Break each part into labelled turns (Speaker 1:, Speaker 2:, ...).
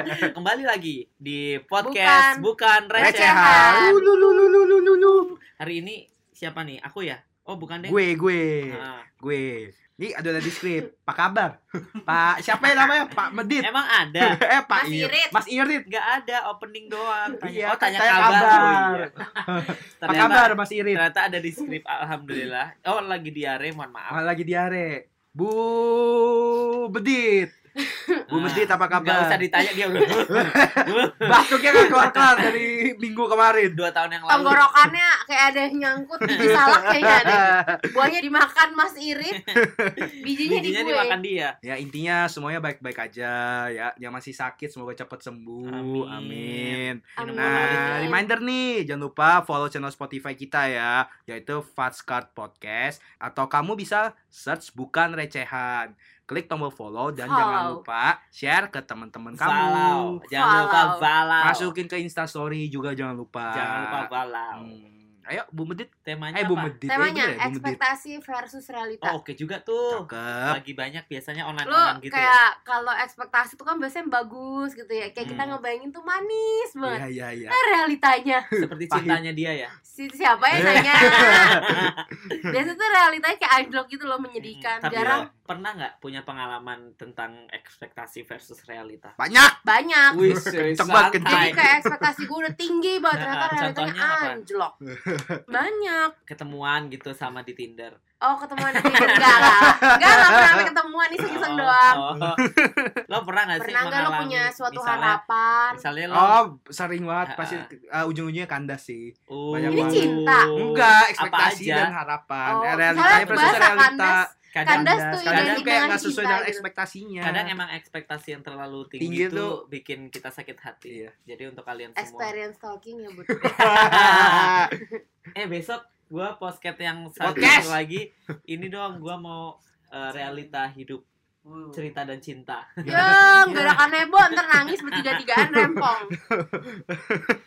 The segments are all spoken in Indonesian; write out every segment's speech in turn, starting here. Speaker 1: kembali lagi di podcast bukan, recehan.
Speaker 2: Recehan.
Speaker 3: Recehan. Lu, lu, lu, lu, lu, lu, lu.
Speaker 1: Hari ini siapa nih? Aku ya? Oh, bukan deh.
Speaker 3: Gue, gue,
Speaker 1: Ah.
Speaker 3: gue. Ini ada di skrip. Pak kabar? Pak siapa yang namanya? Pak Medit.
Speaker 1: Emang ada?
Speaker 3: eh, Pak
Speaker 2: Mas
Speaker 3: Ir-
Speaker 2: Irit.
Speaker 3: Mas Irit.
Speaker 1: Nggak ada opening doang. Tanya,
Speaker 3: Iya,
Speaker 1: oh, tanya,
Speaker 3: tanya
Speaker 1: kabar.
Speaker 3: kabar.
Speaker 1: Oh, iya.
Speaker 3: Pak
Speaker 1: Ternyata-
Speaker 3: kabar Mas Irit.
Speaker 1: Ternyata ada di skrip alhamdulillah. Oh, lagi diare, mohon maaf.
Speaker 3: Malah Ah, lagi diare. Bu Bedit. Bu
Speaker 1: Ah,
Speaker 3: Bedit apa
Speaker 1: Nggak
Speaker 3: kabar?
Speaker 1: usah ditanya dia udah.
Speaker 3: Batuknya kan keluar-keluar dari minggu kemarin.
Speaker 1: Dua tahun yang lalu.
Speaker 2: Tenggorokannya kayak ada yang nyangkut biji salak kayaknya
Speaker 1: Iya,
Speaker 2: ada. Buahnya dimakan Mas Irit.
Speaker 1: Bijinya
Speaker 2: Bijinya, di gue.
Speaker 1: dimakan dia.
Speaker 3: Ya intinya semuanya baik-baik aja ya. Yang masih sakit semoga cepat sembuh.
Speaker 1: Amin.
Speaker 3: Amin.
Speaker 2: Amin.
Speaker 3: Nah,
Speaker 2: Amin.
Speaker 1: gitu
Speaker 3: reminder nih, jangan lupa follow channel Spotify kita ya, yaitu Fats Card Podcast atau kamu bisa search bukan recehan. Klik tombol follow dan jangan
Speaker 2: Follow.
Speaker 3: lupa share ke teman-teman
Speaker 1: Valau.
Speaker 3: kamu.
Speaker 1: Jangan lupa
Speaker 2: Valau.
Speaker 1: valau.
Speaker 3: Masukin ke Insta story juga jangan lupa.
Speaker 1: Jangan lupa valau.
Speaker 3: Hmm, Ayo Bu Medit,
Speaker 1: Temanya
Speaker 3: eh
Speaker 1: apa?
Speaker 3: Bu Medit, eh,
Speaker 2: Temanya
Speaker 3: bener ya, Bu Medit.
Speaker 2: ekspektasi versus realita.
Speaker 1: Oh, oke juga tuh.
Speaker 3: Cakep.
Speaker 1: Lagi banyak biasanya
Speaker 2: Lu
Speaker 1: online-online gitu. ya.
Speaker 2: kayak kalau ekspektasi tuh kan biasanya bagus gitu ya. Kayak kita
Speaker 1: Hmm.
Speaker 2: ngebayangin tuh manis banget.
Speaker 3: Iya, iya, iya.
Speaker 2: Nah, realitanya
Speaker 1: Seperti
Speaker 3: pahit.
Speaker 1: cintanya dia ya.
Speaker 2: si siapa yang nanya? Biasanya tuh realitanya kayak anjlok gitu loh menyedihkan.
Speaker 1: Tapi
Speaker 2: Jarang
Speaker 1: lo pernah nggak punya pengalaman tentang ekspektasi versus realita? gitu,
Speaker 3: Banyak.
Speaker 2: banyak.
Speaker 1: Wih,
Speaker 3: kenceng banget, kenceng.
Speaker 2: Jadi
Speaker 1: santai.
Speaker 2: kayak ekspektasi gue udah tinggi banget ternyata
Speaker 1: Nah,
Speaker 2: realitanya
Speaker 1: contohnya apa?
Speaker 2: anjlok. Banyak.
Speaker 1: ketemuan gitu sama di Tinder.
Speaker 2: Oh ketemuan di Tinder enggak lah. Enggak lah pernah sampai ketemuan iseng-iseng doang.
Speaker 1: Oh. Lo pernah nggak sih
Speaker 2: Pernah enggak lo
Speaker 1: mengalami
Speaker 2: punya suatu
Speaker 1: misalnya,
Speaker 2: harapan?
Speaker 1: Misalnya lo
Speaker 3: Oh, sering banget
Speaker 1: Ah,
Speaker 3: pasti eh, ujung-ujungnya kandas sih.
Speaker 1: uh,
Speaker 3: banyak
Speaker 2: Ini banget. cinta.
Speaker 3: Enggak, ekspektasi
Speaker 1: aja?
Speaker 3: dan harapan.
Speaker 2: Oh,
Speaker 3: Eh,
Speaker 2: misalnya
Speaker 3: realitanya versus
Speaker 2: bahasa
Speaker 3: realita.
Speaker 2: kandas.
Speaker 1: kadang
Speaker 2: Kandas tuh
Speaker 3: kadang
Speaker 1: identik
Speaker 3: tuh kayak
Speaker 2: dengan
Speaker 3: nggak sesuai
Speaker 2: cinta
Speaker 3: dengan
Speaker 2: gitu.
Speaker 3: ekspektasinya
Speaker 1: kadang emang ekspektasi yang terlalu tinggi,
Speaker 3: Tinggi
Speaker 1: itu
Speaker 3: tuh.
Speaker 1: bikin kita sakit hati.
Speaker 3: Iya.
Speaker 1: Jadi untuk kalian semua.
Speaker 2: Experience talking ya bu.
Speaker 3: Ah,
Speaker 1: Eh besok gua podcast yang satu
Speaker 3: Podcast.
Speaker 1: lagi ini dong gua mau eh, realita hidup
Speaker 2: Hmm.
Speaker 1: cerita dan cinta.
Speaker 2: Yeng, Ya, gerakan heboh ntar nangis bertiga-tigaan rempong.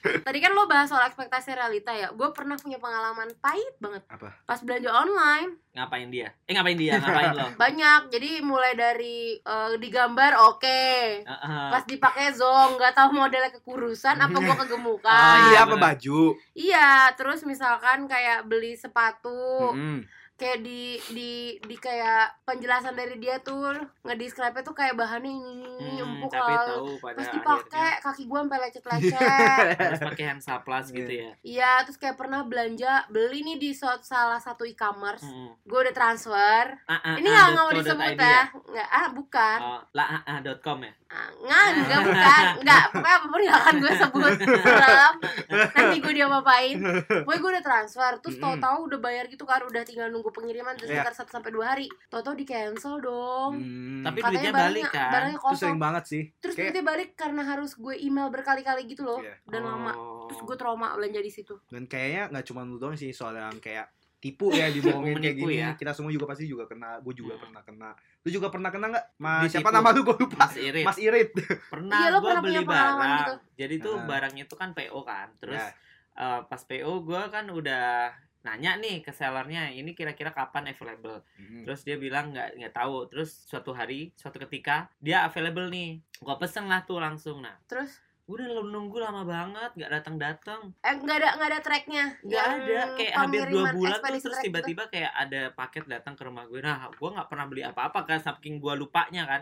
Speaker 2: Tadi kan lo bahas soal ekspektasi realita ya. Gue pernah punya pengalaman pahit banget.
Speaker 3: Apa?
Speaker 2: Pas belanja online.
Speaker 1: Ngapain dia? Eh ngapain dia? Ngapain lo?
Speaker 2: banyak jadi mulai dari eh, digambar oke
Speaker 1: Heeh.
Speaker 2: pas dipakai zong nggak tahu modelnya kekurusan apa gua
Speaker 1: Oh,
Speaker 2: kegemukan
Speaker 3: iya
Speaker 1: iya,
Speaker 3: apa
Speaker 1: bener.
Speaker 3: baju
Speaker 2: iya terus misalkan kayak beli sepatu
Speaker 3: Mm-mm.
Speaker 2: kayak di di di kayak penjelasan dari dia tuh ngedescribe tuh kayak bahannya ini ini, ini,
Speaker 1: Hmm,
Speaker 2: empuk
Speaker 1: tapi
Speaker 2: lalu
Speaker 1: tahu pada akhirnya
Speaker 2: terus
Speaker 1: Iya.
Speaker 2: dipakai kaki gua sampai lecet-lecet
Speaker 1: harus pakai hand saplas gitu ya.
Speaker 2: iya terus kayak pernah belanja beli nih di suat- salah satu e-commerce
Speaker 1: Mm.
Speaker 2: gua udah transfer
Speaker 1: Ah, ah,
Speaker 2: ini
Speaker 1: ah,
Speaker 2: nggak nggak mau
Speaker 1: .co.id
Speaker 2: disebut
Speaker 1: ya?
Speaker 2: ya nggak ah bukan
Speaker 1: Oh, lah ah, ah, dot .com ya.
Speaker 2: Ah, Nggak, enggak bukan Enggak, pokoknya apapun nggak akan gue sebut Serem Nanti gue dia apain Pokoknya gue udah transfer Terus
Speaker 3: Mm-mm.
Speaker 2: tau-tau udah bayar gitu kan Udah tinggal nunggu pengiriman Terus
Speaker 3: Iya.
Speaker 2: sekitar 1 sampai 2 hari Tau-tau di cancel dong
Speaker 3: Hmm.
Speaker 1: Mm. Tapi
Speaker 3: itu
Speaker 1: duitnya balik kan?
Speaker 2: barangnya kosong
Speaker 3: sering banget sih
Speaker 2: Terus
Speaker 3: Kayak-
Speaker 2: duitnya balik karena harus gue email berkali-kali gitu loh
Speaker 3: Iya.
Speaker 2: Dan lama
Speaker 1: Oh.
Speaker 2: Terus gue trauma belanja di situ
Speaker 3: dan kayaknya nggak cuma lu doang sih soal yang kayak tipu ya dibohongin kayak
Speaker 1: Menipu
Speaker 3: gini
Speaker 1: ya.
Speaker 3: kita semua juga pasti juga kena gue juga
Speaker 1: Hmm.
Speaker 3: pernah kena lu juga pernah kena nggak mas
Speaker 1: Ditipu.
Speaker 3: siapa nama lu gue lupa
Speaker 1: Mas Irit.
Speaker 3: mas Irit
Speaker 1: pernah
Speaker 2: Iya, lo
Speaker 1: gue
Speaker 2: pernah
Speaker 1: beli
Speaker 2: punya
Speaker 1: barang.
Speaker 2: pengalaman gitu?
Speaker 1: Jadi tuh
Speaker 3: Ah.
Speaker 1: barangnya tuh kan PO kan. Terus
Speaker 3: Ya.
Speaker 1: eh, pas PO gue kan udah nanya nih ke sellernya ini kira-kira kapan available.
Speaker 3: Mm.
Speaker 1: Terus dia bilang nggak nggak tahu. Terus suatu hari, suatu ketika dia available nih. Gua pesen lah tuh langsung. Nah,
Speaker 2: Terus
Speaker 1: udah lo nunggu lama banget nggak datang datang.
Speaker 2: Eh nggak ada, nggak ada tracknya
Speaker 1: nggak
Speaker 2: Yang
Speaker 1: ada kayak hampir dua
Speaker 2: pengiriman
Speaker 1: bulan tuh terus
Speaker 2: ekspedisi track gitu.
Speaker 1: tiba-tiba kayak ada paket datang ke rumah gue nah gue nggak pernah beli apa-apa kan saking gue lupanya kan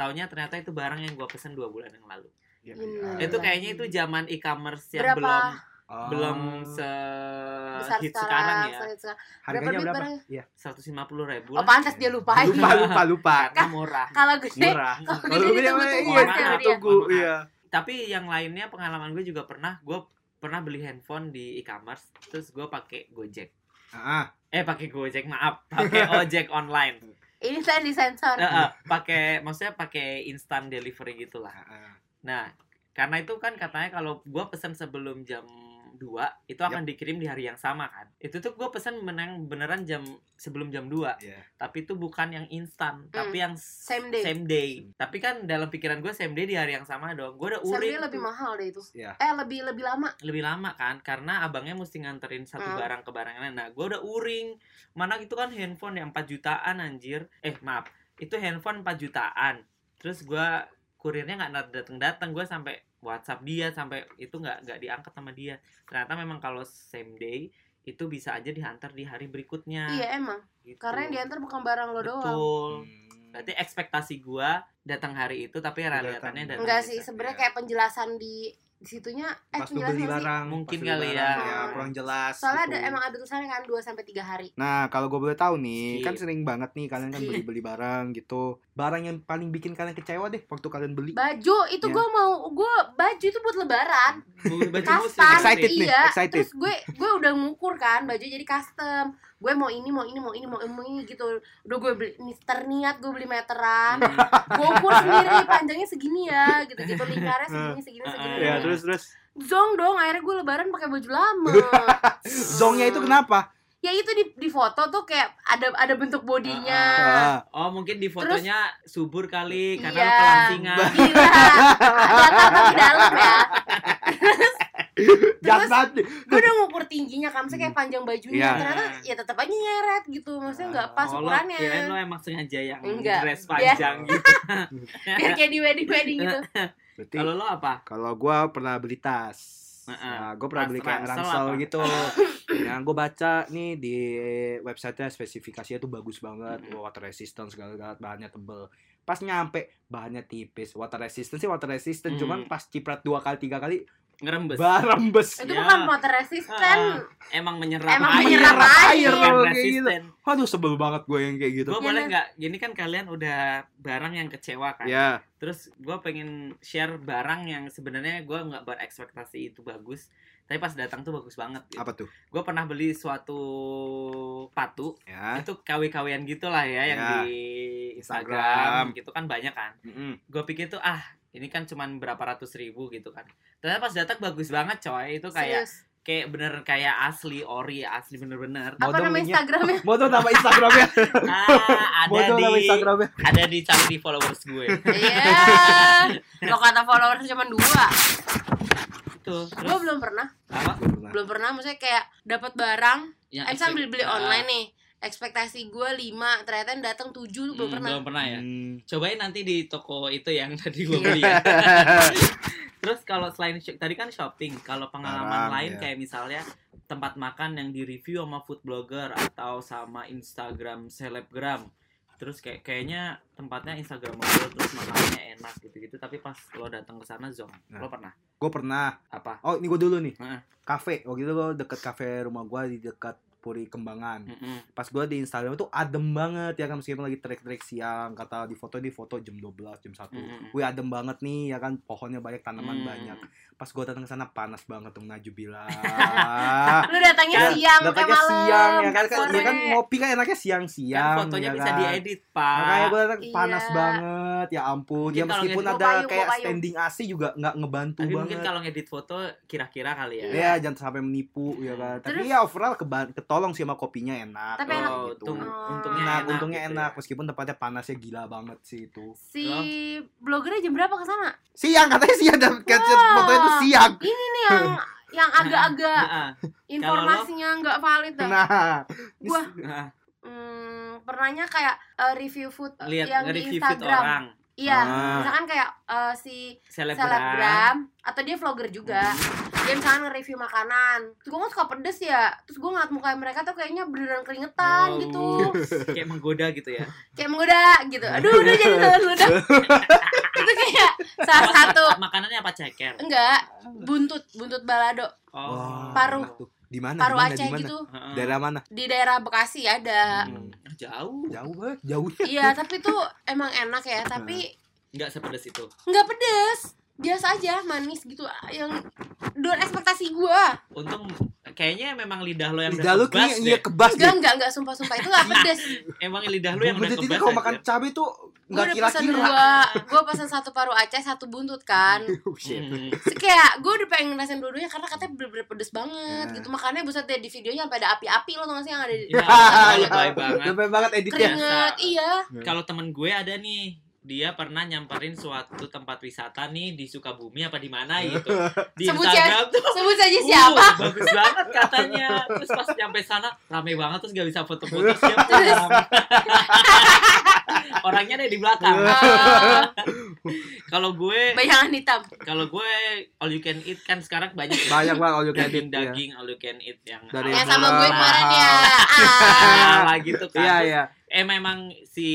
Speaker 1: taunya ternyata itu barang yang gue pesen dua bulan yang lalu
Speaker 3: Ya,
Speaker 2: Bener.
Speaker 3: ya.
Speaker 1: itu kayaknya itu zaman e-commerce yang
Speaker 2: Berapa?
Speaker 1: belum
Speaker 3: Oh.
Speaker 1: belum se
Speaker 2: Besar
Speaker 1: hit
Speaker 2: sekarang,
Speaker 1: sekarang ya
Speaker 2: sekarang, sekarang.
Speaker 3: harganya
Speaker 2: duit
Speaker 3: berapa
Speaker 2: barangnya?
Speaker 3: Iya.
Speaker 1: seratus lima puluh ribu
Speaker 2: Oh
Speaker 1: lah
Speaker 2: pantas dia Eh, lupa
Speaker 3: lupa lupa lupa
Speaker 1: karena murah
Speaker 2: Kalau gue
Speaker 3: murah
Speaker 2: Kalau
Speaker 3: kalau
Speaker 2: gede
Speaker 3: gue yang
Speaker 2: ditunggu-tunggu
Speaker 3: iya
Speaker 1: pasti sama
Speaker 3: kita
Speaker 1: dia.
Speaker 3: tunggu
Speaker 1: Mohon maaf.
Speaker 3: iya
Speaker 1: tapi yang lainnya pengalaman gue juga pernah gue pernah beli handphone di e-commerce terus gue pakai gojek
Speaker 3: Ah,
Speaker 1: eh pakai gojek maaf pakai ojek online
Speaker 2: Ini saya disensor
Speaker 1: Eh, eh, pakai maksudnya pakai instant delivery gitulah.
Speaker 3: ah, ah.
Speaker 1: Nah, karena itu kan katanya kalau gua pesan sebelum jam 2 itu akan dikirim di hari yang sama kan. Itu tuh gua pesan menang beneran jam sebelum jam 2.
Speaker 3: Iya.
Speaker 1: Tapi itu bukan yang instan, tapi yang s-
Speaker 2: Hmm. Same day.
Speaker 1: Tapi kan dalam pikiran gue same day di hari yang sama dong. Gua udah
Speaker 2: Sambil
Speaker 1: uring
Speaker 2: lebih
Speaker 1: tuh.
Speaker 2: mahal deh itu.
Speaker 3: Iya.
Speaker 2: Eh lebih lebih lama.
Speaker 1: lebih lama kan karena abangnya mesti nganterin satu
Speaker 2: Hmm.
Speaker 1: barang ke barang yang lain. Nah, gua udah uring. Mana itu kan handphone yang 4 jutaan anjir. Eh, maaf. Itu handphone 4 jutaan. Terus gua kurirnya nggak datang-datang. Gua sampai WhatsApp dia sampai itu nggak nggak diangkat sama dia. Ternyata memang kalau same day itu bisa aja diantar di hari
Speaker 3: Nah.
Speaker 1: berikutnya.
Speaker 2: Iya emang.
Speaker 1: gitu.
Speaker 2: Karena yang diantar bukan barang lo doang.
Speaker 1: Betul.
Speaker 3: Hmm.
Speaker 1: Berarti ekspektasi gua datang hari itu tapi realitasnya datang.
Speaker 2: Enggak
Speaker 1: hari
Speaker 2: sih,
Speaker 1: itu.
Speaker 2: sebenarnya
Speaker 3: Iya.
Speaker 2: kayak penjelasan di situnya eh
Speaker 3: pas tuh beli
Speaker 2: penjelasan sih.
Speaker 3: larang
Speaker 1: Mungkin
Speaker 3: pas beli
Speaker 1: kali
Speaker 3: larang,
Speaker 2: ya.
Speaker 3: kurang jelas
Speaker 2: Soalnya ada,
Speaker 3: gitu.
Speaker 2: emang ada tulisannya kan 2 sampai 3 hari.
Speaker 3: Nah, kalau gue boleh tahu nih,
Speaker 1: Skip.
Speaker 3: kan sering banget nih kalian kan
Speaker 2: Skip.
Speaker 3: beli-beli barang gitu. Barang yang paling bikin kalian kecewa deh waktu kalian beli.
Speaker 2: Baju itu
Speaker 3: Ya.
Speaker 2: gue mau gue baju itu buat lebaran.
Speaker 1: Bu- baju muslim
Speaker 2: custom
Speaker 3: Excited
Speaker 1: nih.
Speaker 3: nih,
Speaker 2: iya
Speaker 3: excited.
Speaker 2: terus gue gue udah ngukur kan baju jadi custom gue mau ini mau ini mau ini mau ini gitu udah gue beli ini terniat gue beli meteran
Speaker 1: Hmm.
Speaker 2: gue ukur sendiri panjangnya segini ya gitu gitu lingkarnya segini segini segini
Speaker 1: Iya,
Speaker 3: Ya, terus terus
Speaker 2: zong dong akhirnya gue lebaran pakai baju lama
Speaker 3: zongnya itu kenapa?
Speaker 2: ya itu di di foto tuh kayak ada ada bentuk bodinya
Speaker 3: Ah,
Speaker 1: Oh mungkin di fotonya subur kali karena lu
Speaker 2: Iya.
Speaker 1: kelantingan.
Speaker 2: Gila, ada apa di dalam ya
Speaker 3: jahat banget nih.
Speaker 2: Gue udah ngukur tingginya kan, maksudnya kayak panjang bajunya
Speaker 3: Iya.
Speaker 2: Ternyata ya tetap aja nyeret gitu, maksudnya nggak pas
Speaker 1: Oh, lo
Speaker 2: ukurannya
Speaker 1: kirain lo emang sengaja yang
Speaker 2: Enggak. Iya.
Speaker 1: dress panjang gitu.
Speaker 2: biar kayak di wedding wedding gitu
Speaker 3: Berarti
Speaker 1: Kalau lo apa?
Speaker 3: kalau gue pernah beli tas.
Speaker 1: Heeh.
Speaker 3: Nah, gue pernah
Speaker 1: Tas
Speaker 3: beli kayak
Speaker 1: ransel
Speaker 3: ransel
Speaker 1: apa?
Speaker 3: gitu. Yang gue baca nih di websitenya spesifikasinya tuh bagus banget,
Speaker 1: Mm-mm.
Speaker 3: water resistant segala-gala, bahannya tebel. Pas nyampe bahannya tipis, water resistant sih water resistant,
Speaker 1: Mm.
Speaker 3: cuman pas ciprat dua kali tiga kali
Speaker 1: Ngerembes.
Speaker 3: barembes.
Speaker 2: itu
Speaker 1: Ya.
Speaker 2: bukan water resistant
Speaker 1: Ah, emang menyerap
Speaker 2: Emang
Speaker 1: air.
Speaker 2: menyerap air
Speaker 1: Bukan
Speaker 3: loh, kayak
Speaker 1: resisten.
Speaker 3: Aduh sebel banget gue yang kayak gitu.
Speaker 1: Gue
Speaker 2: Iya,
Speaker 1: boleh
Speaker 2: Mas.
Speaker 1: nggak? Ini kan kalian udah barang yang kecewa kan.
Speaker 3: Ya,
Speaker 1: Terus gue pengen share barang yang sebenarnya gue nggak berekspektasi itu bagus, tapi pas datang tuh bagus banget. Gitu.
Speaker 3: apa tuh?
Speaker 1: Gue pernah beli suatu patu,
Speaker 3: Ya.
Speaker 1: itu KW-KWan gitulah ya yang
Speaker 3: Ya.
Speaker 1: di
Speaker 3: Instagram.
Speaker 1: Instagram gitu kan banyak kan.
Speaker 3: Mm-mm.
Speaker 1: Gue pikir tuh ah ini kan cuman berapa ratus ribu gitu kan. Ternyata pas datang bagus banget coy, itu kayak
Speaker 2: serius
Speaker 1: kayak bener kayak asli ori asli bener-bener.
Speaker 2: apa
Speaker 3: Model
Speaker 2: nama
Speaker 3: linknya.
Speaker 2: instagramnya
Speaker 3: Mau tau nama Instagramnya?
Speaker 1: Ah,
Speaker 3: Mau
Speaker 1: ada
Speaker 3: tau nama
Speaker 1: di
Speaker 3: Instagramnya?
Speaker 1: ada di cari di followers gue.
Speaker 2: iya lo kata followers cuma dua
Speaker 1: Tuh,
Speaker 2: gue
Speaker 1: terus
Speaker 2: belum pernah
Speaker 1: apa?
Speaker 3: Belum pernah.
Speaker 2: belum pernah maksudnya kayak dapat barang
Speaker 1: Yang
Speaker 2: eh sambil beli
Speaker 1: Ah.
Speaker 2: online nih ekspektasi gue 5, ternyata yang datang 7 tuh belum
Speaker 1: Hmm,
Speaker 2: pernah
Speaker 1: Belum pernah ya.
Speaker 3: Hmm.
Speaker 1: Cobain nanti di toko itu yang tadi gue beli ya. Terus kalau selain sho- tadi kan shopping, kalau
Speaker 3: Barang,
Speaker 1: pengalaman lain
Speaker 3: ya.
Speaker 1: kayak misalnya tempat makan yang direview sama food blogger atau sama Instagram selebgram. Terus kayak kayaknya tempatnya Instagramable terus makanannya enak gitu-gitu tapi pas lo datang ke sana zonk.
Speaker 3: Nah.
Speaker 1: Lo pernah
Speaker 3: Gue pernah.
Speaker 1: apa?
Speaker 3: Oh, ini gue dulu nih.
Speaker 1: Heeh.
Speaker 3: Kafe. Waktu itu gue deket kafe rumah gue di dekat Puri Kembangan.
Speaker 1: Mm-mm.
Speaker 3: Pas gue di Instagram tuh adem banget ya kan meskipun lagi trek-trek siang kata di foto di foto jam 12 jam 1
Speaker 1: Mm-mm.
Speaker 3: Wih adem banget nih ya kan pohonnya banyak tanaman
Speaker 1: Hmm.
Speaker 3: banyak. Pas gue datang ke sana panas banget tuh najubillah.
Speaker 2: lu
Speaker 3: Ya,
Speaker 2: datangnya siang kayak
Speaker 3: Dapatnya
Speaker 2: malam
Speaker 3: siang ya kan, kan,
Speaker 2: sore.
Speaker 3: ya kan ngopi kan enaknya siang-siang.
Speaker 1: Kan fotonya
Speaker 3: ya
Speaker 1: bisa
Speaker 3: kan?
Speaker 1: diedit, Pak.
Speaker 3: Makanya gue datang
Speaker 2: Iya.
Speaker 3: panas banget ya ampun. ya
Speaker 1: Mungkin Iya, kalau gitu
Speaker 3: meskipun
Speaker 2: ngedit-
Speaker 3: ada
Speaker 2: Gua payung,
Speaker 3: kayak
Speaker 2: gua payung.
Speaker 3: standing AC juga nggak ngebantu
Speaker 1: Tapi
Speaker 3: banget.
Speaker 1: mungkin kalau ngedit foto kira-kira kali ya.
Speaker 3: Ya jangan sampai menipu ya kan. Tapi
Speaker 2: Terus-
Speaker 3: ya overall keba- ketolong sih sama kopinya enak.
Speaker 2: Tapi
Speaker 1: Oh,
Speaker 2: enak.
Speaker 3: gitu.
Speaker 1: untung- untungnya
Speaker 3: Enak,
Speaker 1: enak.
Speaker 3: untungnya
Speaker 1: gitu
Speaker 3: enak
Speaker 1: ya.
Speaker 3: meskipun tempatnya panasnya gila banget sih itu.
Speaker 2: si blogernya jam berapa ke sana
Speaker 3: Siang katanya siang dan caption
Speaker 2: Wah.
Speaker 3: fotonya itu siang.
Speaker 2: ini nih yang yang agak-agak
Speaker 1: Heeh.
Speaker 2: informasinya nggak valid dah.
Speaker 3: Nah, ini
Speaker 2: Gua-
Speaker 3: s-
Speaker 1: Heeh.
Speaker 2: Hmm, pernahnya kayak eh, review food eh,
Speaker 1: Lihat
Speaker 2: yang di
Speaker 1: nge-review feed
Speaker 2: Instagram.
Speaker 1: orang.
Speaker 2: Iya,
Speaker 3: Ah.
Speaker 2: misalkan kayak eh, si
Speaker 1: Selebgram. Hmm.
Speaker 2: selebgram atau dia vlogger juga. Dia misalkan Ya, nge-review makanan. Terus gue kan suka pedes ya. Terus gue ngeliat muka mereka tuh kayaknya beneran keringetan
Speaker 1: Oh.
Speaker 2: gitu.
Speaker 1: kayak menggoda gitu ya.
Speaker 2: Kayak menggoda gitu. Aduh, udah jadi telan ludah. Itu kayak salah satu
Speaker 1: Makanannya apa ceker? Oh.
Speaker 2: enggak buntut buntut balado
Speaker 3: wah,
Speaker 2: Paru.
Speaker 3: enak tuh. Di mana?
Speaker 2: paru
Speaker 3: di mana?
Speaker 2: Aceh
Speaker 3: di mana?
Speaker 2: gitu
Speaker 1: Heeh.
Speaker 3: Daerah mana?
Speaker 2: di daerah Bekasi ada
Speaker 1: Hmm, Jauh.
Speaker 3: Jauh banget, jauh.
Speaker 2: iya tapi tuh emang enak ya tapi
Speaker 1: Enggak sepedes itu.
Speaker 3: Hmm.
Speaker 2: nggak pedes biasa aja manis gitu yang don ekspektasi gua
Speaker 1: Untung kayaknya memang lidah lo yang
Speaker 3: Lidah lu
Speaker 1: udah kebas
Speaker 3: kayaknya iya
Speaker 1: deh.
Speaker 3: kebas
Speaker 2: enggak
Speaker 3: deh.
Speaker 2: enggak enggak sumpah sumpah itu nggak pedes
Speaker 1: Emang lidah lu yang
Speaker 3: Gue
Speaker 1: udah
Speaker 3: jadi
Speaker 1: kebas.
Speaker 3: kalau
Speaker 1: aja.
Speaker 3: makan cabai tuh
Speaker 2: gua
Speaker 3: nggak
Speaker 2: udah pesan
Speaker 3: kira-kira.
Speaker 2: dua gua pesan satu paru Aceh satu buntut kan
Speaker 3: Oh, shit.
Speaker 1: Hmm.
Speaker 2: Terus kayak gua udah pengen ngerasain dua-duanya karena katanya bener-bener pedes banget
Speaker 3: Nah.
Speaker 2: gitu makanya buset deh di videonya sampai ada api-api lo tau gak sih yang ada
Speaker 3: Iya, gitu
Speaker 2: di
Speaker 1: Ya,
Speaker 3: Hahaha,
Speaker 1: lebay banget.
Speaker 3: Lebay banget editnya.
Speaker 2: keringet iya
Speaker 1: Kalau temen gue ada nih, dia pernah nyamperin suatu tempat wisata nih di Sukabumi apa di mana gitu. Di
Speaker 2: Sebut ya.
Speaker 1: Instagram tuh.
Speaker 2: Iya, sebut saja
Speaker 1: uh,
Speaker 2: siapa
Speaker 1: bagus banget katanya. Terus pas nyampe sana rame banget terus gak bisa foto-foto siapa. orangnya ada di belakang
Speaker 3: Iya.
Speaker 2: Eh,
Speaker 1: kalau gue
Speaker 2: bayangan hitam
Speaker 1: kalau gue all you can eat kan sekarang banyak ya.
Speaker 3: banyak banget all you can eat
Speaker 1: daging
Speaker 3: ya.
Speaker 1: daging all you can eat yang
Speaker 3: Dari
Speaker 1: ala-
Speaker 2: yang sama gue
Speaker 1: ala-
Speaker 2: kemarin ya ah.
Speaker 1: ala gitu kan
Speaker 3: Iya
Speaker 1: Terus
Speaker 3: iya.
Speaker 1: eh memang si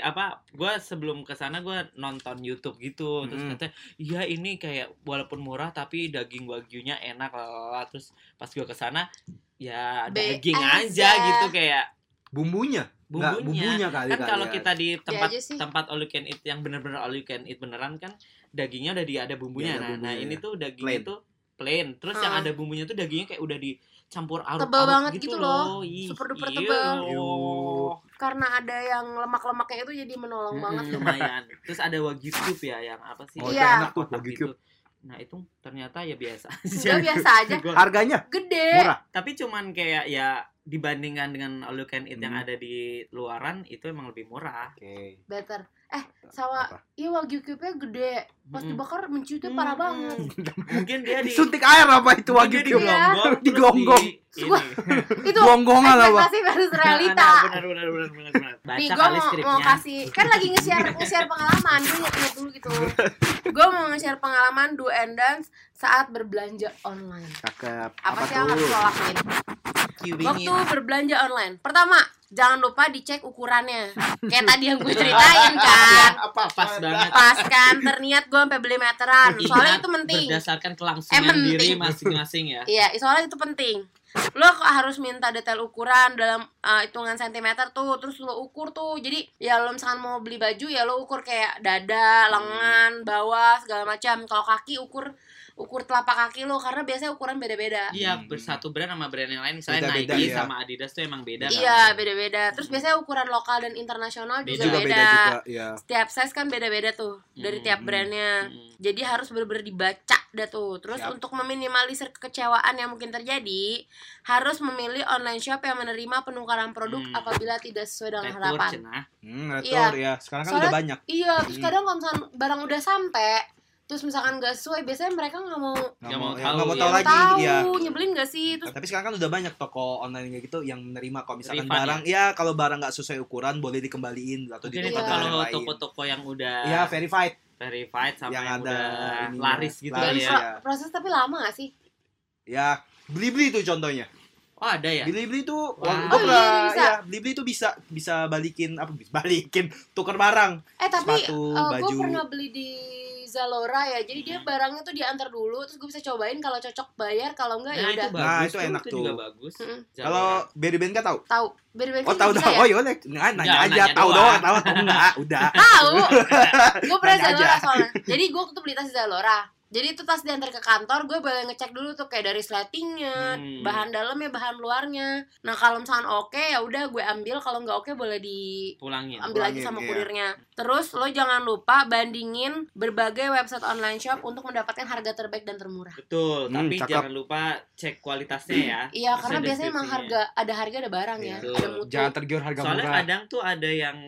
Speaker 1: apa gue sebelum ke sana gue nonton YouTube gitu terus
Speaker 3: Mm.
Speaker 1: katanya iya ini kayak walaupun murah tapi daging wagyunya enak lah terus pas gue ke sana ya
Speaker 2: Be
Speaker 1: daging aja.
Speaker 2: aja.
Speaker 1: gitu kayak
Speaker 3: Bumbunya. Nggak, bumbunya
Speaker 1: bumbunya,
Speaker 3: kali
Speaker 1: kan
Speaker 3: kali
Speaker 1: kalau
Speaker 3: ya.
Speaker 1: kita di tempat
Speaker 2: aja sih.
Speaker 1: tempat all you can eat yang bener-bener all you can eat beneran kan dagingnya udah di ada
Speaker 3: Iya, ada
Speaker 1: bumbunya, nah, nah,
Speaker 3: bumbunya,
Speaker 1: ini
Speaker 3: ya.
Speaker 1: tuh dagingnya
Speaker 3: Plain.
Speaker 1: tuh plain terus yang
Speaker 2: Ah.
Speaker 1: ada bumbunya tuh dagingnya kayak udah dicampur arut
Speaker 2: Tebel banget gitu loh.
Speaker 1: Ih,
Speaker 2: Super duper
Speaker 1: iya
Speaker 2: tebel.
Speaker 1: loh.
Speaker 2: karena ada yang lemak-lemaknya itu jadi menolong banget
Speaker 1: Mm-mm, lumayan terus ada wagyu tube ya yang apa sih
Speaker 3: Oh,
Speaker 2: itu Iya.
Speaker 1: yang
Speaker 3: enak tuh,
Speaker 1: kotak
Speaker 3: wagyu
Speaker 1: gitu.
Speaker 3: tube.
Speaker 1: nah itu ternyata ya biasa
Speaker 2: Enggak
Speaker 1: aja
Speaker 2: biasa aja
Speaker 1: Gua-
Speaker 3: Harganya
Speaker 2: gede
Speaker 3: murah.
Speaker 1: tapi cuman kayak ya dibandingkan dengan all you can eat yang
Speaker 3: Hmm.
Speaker 1: ada di luaran itu emang lebih murah
Speaker 3: Oke.
Speaker 2: better eh sama
Speaker 3: Apa?
Speaker 2: iya wagyu cube-nya gede pas
Speaker 1: Mm-mm.
Speaker 2: dibakar menciutnya parah
Speaker 1: Mm-mm.
Speaker 2: banget
Speaker 1: mungkin dia di
Speaker 3: Suntik air apa itu
Speaker 1: mungkin
Speaker 3: wagyu
Speaker 1: dia
Speaker 3: cube?
Speaker 2: Iya.
Speaker 1: digonggong, terus
Speaker 3: Digonggong.
Speaker 1: di-
Speaker 2: Gua-
Speaker 1: ini.
Speaker 2: itu
Speaker 3: Gongongan lah, Bang.
Speaker 2: ekspektasi versus realita
Speaker 1: Nah, nah, benar benar benar benar benar baca
Speaker 2: Nih gue
Speaker 1: kali
Speaker 2: mau,
Speaker 1: skripnya
Speaker 2: mau kasih Kan lagi nge-share nge-share pengalaman Gue nyet dulu gitu Gue mau nge-share pengalaman do and dance Saat berbelanja online
Speaker 3: Cakep.
Speaker 2: Apa, sih yang harus lo lakuin? Waktu
Speaker 1: Kiwingin.
Speaker 2: berbelanja online Pertama Jangan lupa dicek ukurannya Kayak tadi yang gue ceritain kan
Speaker 3: Apa
Speaker 1: pas banget
Speaker 2: Pas kan Terniat gue sampai beli meteran
Speaker 1: Ingat
Speaker 2: Soalnya itu penting
Speaker 1: berdasarkan
Speaker 2: Eh,
Speaker 1: kelangsungan
Speaker 2: penting.
Speaker 1: diri masing-masing ya
Speaker 2: Iya, soalnya itu penting. Lo kok harus minta detail ukuran dalam eh, hitungan sentimeter tuh, terus lo ukur tuh. Jadi ya lo misalkan mau beli baju ya lo ukur kayak dada, lengan, bawah segala macam. Kalau kaki ukur ukur telapak kaki lo karena biasanya ukuran beda-beda.
Speaker 1: Iya,
Speaker 3: Hmm.
Speaker 1: bersatu brand sama brand yang lain misalnya
Speaker 3: Beda-beda,
Speaker 1: Nike
Speaker 3: iya.
Speaker 1: sama Adidas tuh emang beda kan?
Speaker 2: Iya, beda-beda. Terus biasanya ukuran lokal dan internasional
Speaker 1: Beda.
Speaker 2: juga,
Speaker 3: juga
Speaker 2: beda.
Speaker 3: beda juga ya.
Speaker 2: Tiap size kan beda-beda tuh dari
Speaker 1: Hmm.
Speaker 2: tiap brandnya.
Speaker 1: Mm.
Speaker 2: Jadi harus bener-bener dibaca dah tuh. Terus
Speaker 3: Siap.
Speaker 2: untuk meminimalisir kekecewaan yang mungkin terjadi, harus memilih online shop yang menerima penukaran produk
Speaker 1: Hmm.
Speaker 2: apabila tidak sesuai dengan
Speaker 1: Retur,
Speaker 2: harapan.
Speaker 1: cenah.
Speaker 3: Hmm, retur ya. Sekarang kan
Speaker 2: Iya. Soalnya-
Speaker 3: udah banyak.
Speaker 2: Iya, terus
Speaker 3: Hmm.
Speaker 2: kadang kalau misalkan barang udah sampai, terus misalkan gak sesuai, biasanya mereka nggak mau
Speaker 1: Nggak mau
Speaker 3: ya,
Speaker 1: tahu,
Speaker 3: nggak mau
Speaker 1: ya.
Speaker 3: tahu lagi
Speaker 2: tahu,
Speaker 3: ya.
Speaker 2: nyebelin gak sih? Terus
Speaker 3: Tapi sekarang kan udah banyak toko online kayak gitu yang menerima kalau misalkan
Speaker 1: Refund,
Speaker 3: barang ya, kalau barang nggak sesuai ukuran boleh dikembaliin atau
Speaker 1: Mungkin itu
Speaker 3: ditukar
Speaker 2: Iya.
Speaker 3: dengan
Speaker 1: kalau
Speaker 3: yang lain.
Speaker 1: toko-toko yang udah
Speaker 3: Iya, verified.
Speaker 1: verified sama
Speaker 3: Yang
Speaker 1: yang,
Speaker 3: ada
Speaker 1: udah
Speaker 3: ininya,
Speaker 1: laris gitu
Speaker 2: dan
Speaker 1: kali
Speaker 3: laris.
Speaker 1: ya.
Speaker 2: pro- proses tapi lama gak sih?
Speaker 3: Ya, beli-beli tuh contohnya.
Speaker 1: Oh, ada ya?
Speaker 3: Beli-beli tuh
Speaker 1: Wah.
Speaker 3: wah,
Speaker 1: Oh,
Speaker 3: gua
Speaker 2: iya,
Speaker 3: pernah-
Speaker 2: iya, bisa.
Speaker 3: iya, beli-beli tuh bisa bisa balikin apa balikin tuker barang.
Speaker 2: Eh tapi
Speaker 3: Sepatu,
Speaker 2: gue
Speaker 3: baju.
Speaker 2: pernah beli di Zalora ya, jadi dia
Speaker 1: Hmm.
Speaker 2: barangnya tuh diantar dulu, terus gue bisa cobain kalau cocok bayar, kalau enggak ya
Speaker 1: Nah,
Speaker 2: udah
Speaker 1: itu bagus.
Speaker 3: Nah, itu enak
Speaker 1: itu juga
Speaker 3: tuh.
Speaker 1: bagus.
Speaker 2: Mm-mm.
Speaker 1: Zalora.
Speaker 3: Kalau Berry Band kan tahu.
Speaker 2: tahu. Beda-beda
Speaker 3: Oh,
Speaker 2: kan
Speaker 3: tahu
Speaker 2: bisa
Speaker 3: tahu.
Speaker 2: ya?
Speaker 3: Oh, yaudah. Nggak, nanya
Speaker 1: Jangan
Speaker 3: aja
Speaker 1: nanya
Speaker 3: tahu
Speaker 1: doang.
Speaker 3: doang, tahu atau enggak. Udah.
Speaker 2: tahu gue pernah
Speaker 3: Nanya
Speaker 2: Zalora
Speaker 3: aja.
Speaker 2: soalnya jadi gue waktu beli tas di Zalora jadi itu tas diantar ke kantor gue boleh ngecek dulu tuh kayak dari sletingnya
Speaker 1: Hmm.
Speaker 2: bahan dalamnya bahan luarnya nah kalau misalkan oke ya udah gue ambil kalau nggak oke boleh di
Speaker 1: pulangin.
Speaker 2: ambil lagi
Speaker 3: pulangin,
Speaker 2: sama
Speaker 3: iya.
Speaker 2: kurirnya. Terus lo jangan lupa bandingin berbagai website online shop untuk mendapatkan harga terbaik dan termurah.
Speaker 1: Betul,
Speaker 3: Hmm,
Speaker 1: tapi
Speaker 3: cakep.
Speaker 1: jangan lupa cek kualitasnya ya.
Speaker 2: Iya,
Speaker 1: Terus
Speaker 2: karena
Speaker 1: ada
Speaker 2: biasanya emang
Speaker 1: deskripsinya.
Speaker 2: harga ada harga ada barang ya,
Speaker 1: Iya.
Speaker 2: ada mutu.
Speaker 3: Jangan tergiur harga
Speaker 1: Soalnya
Speaker 3: murah.
Speaker 1: kadang tuh ada yang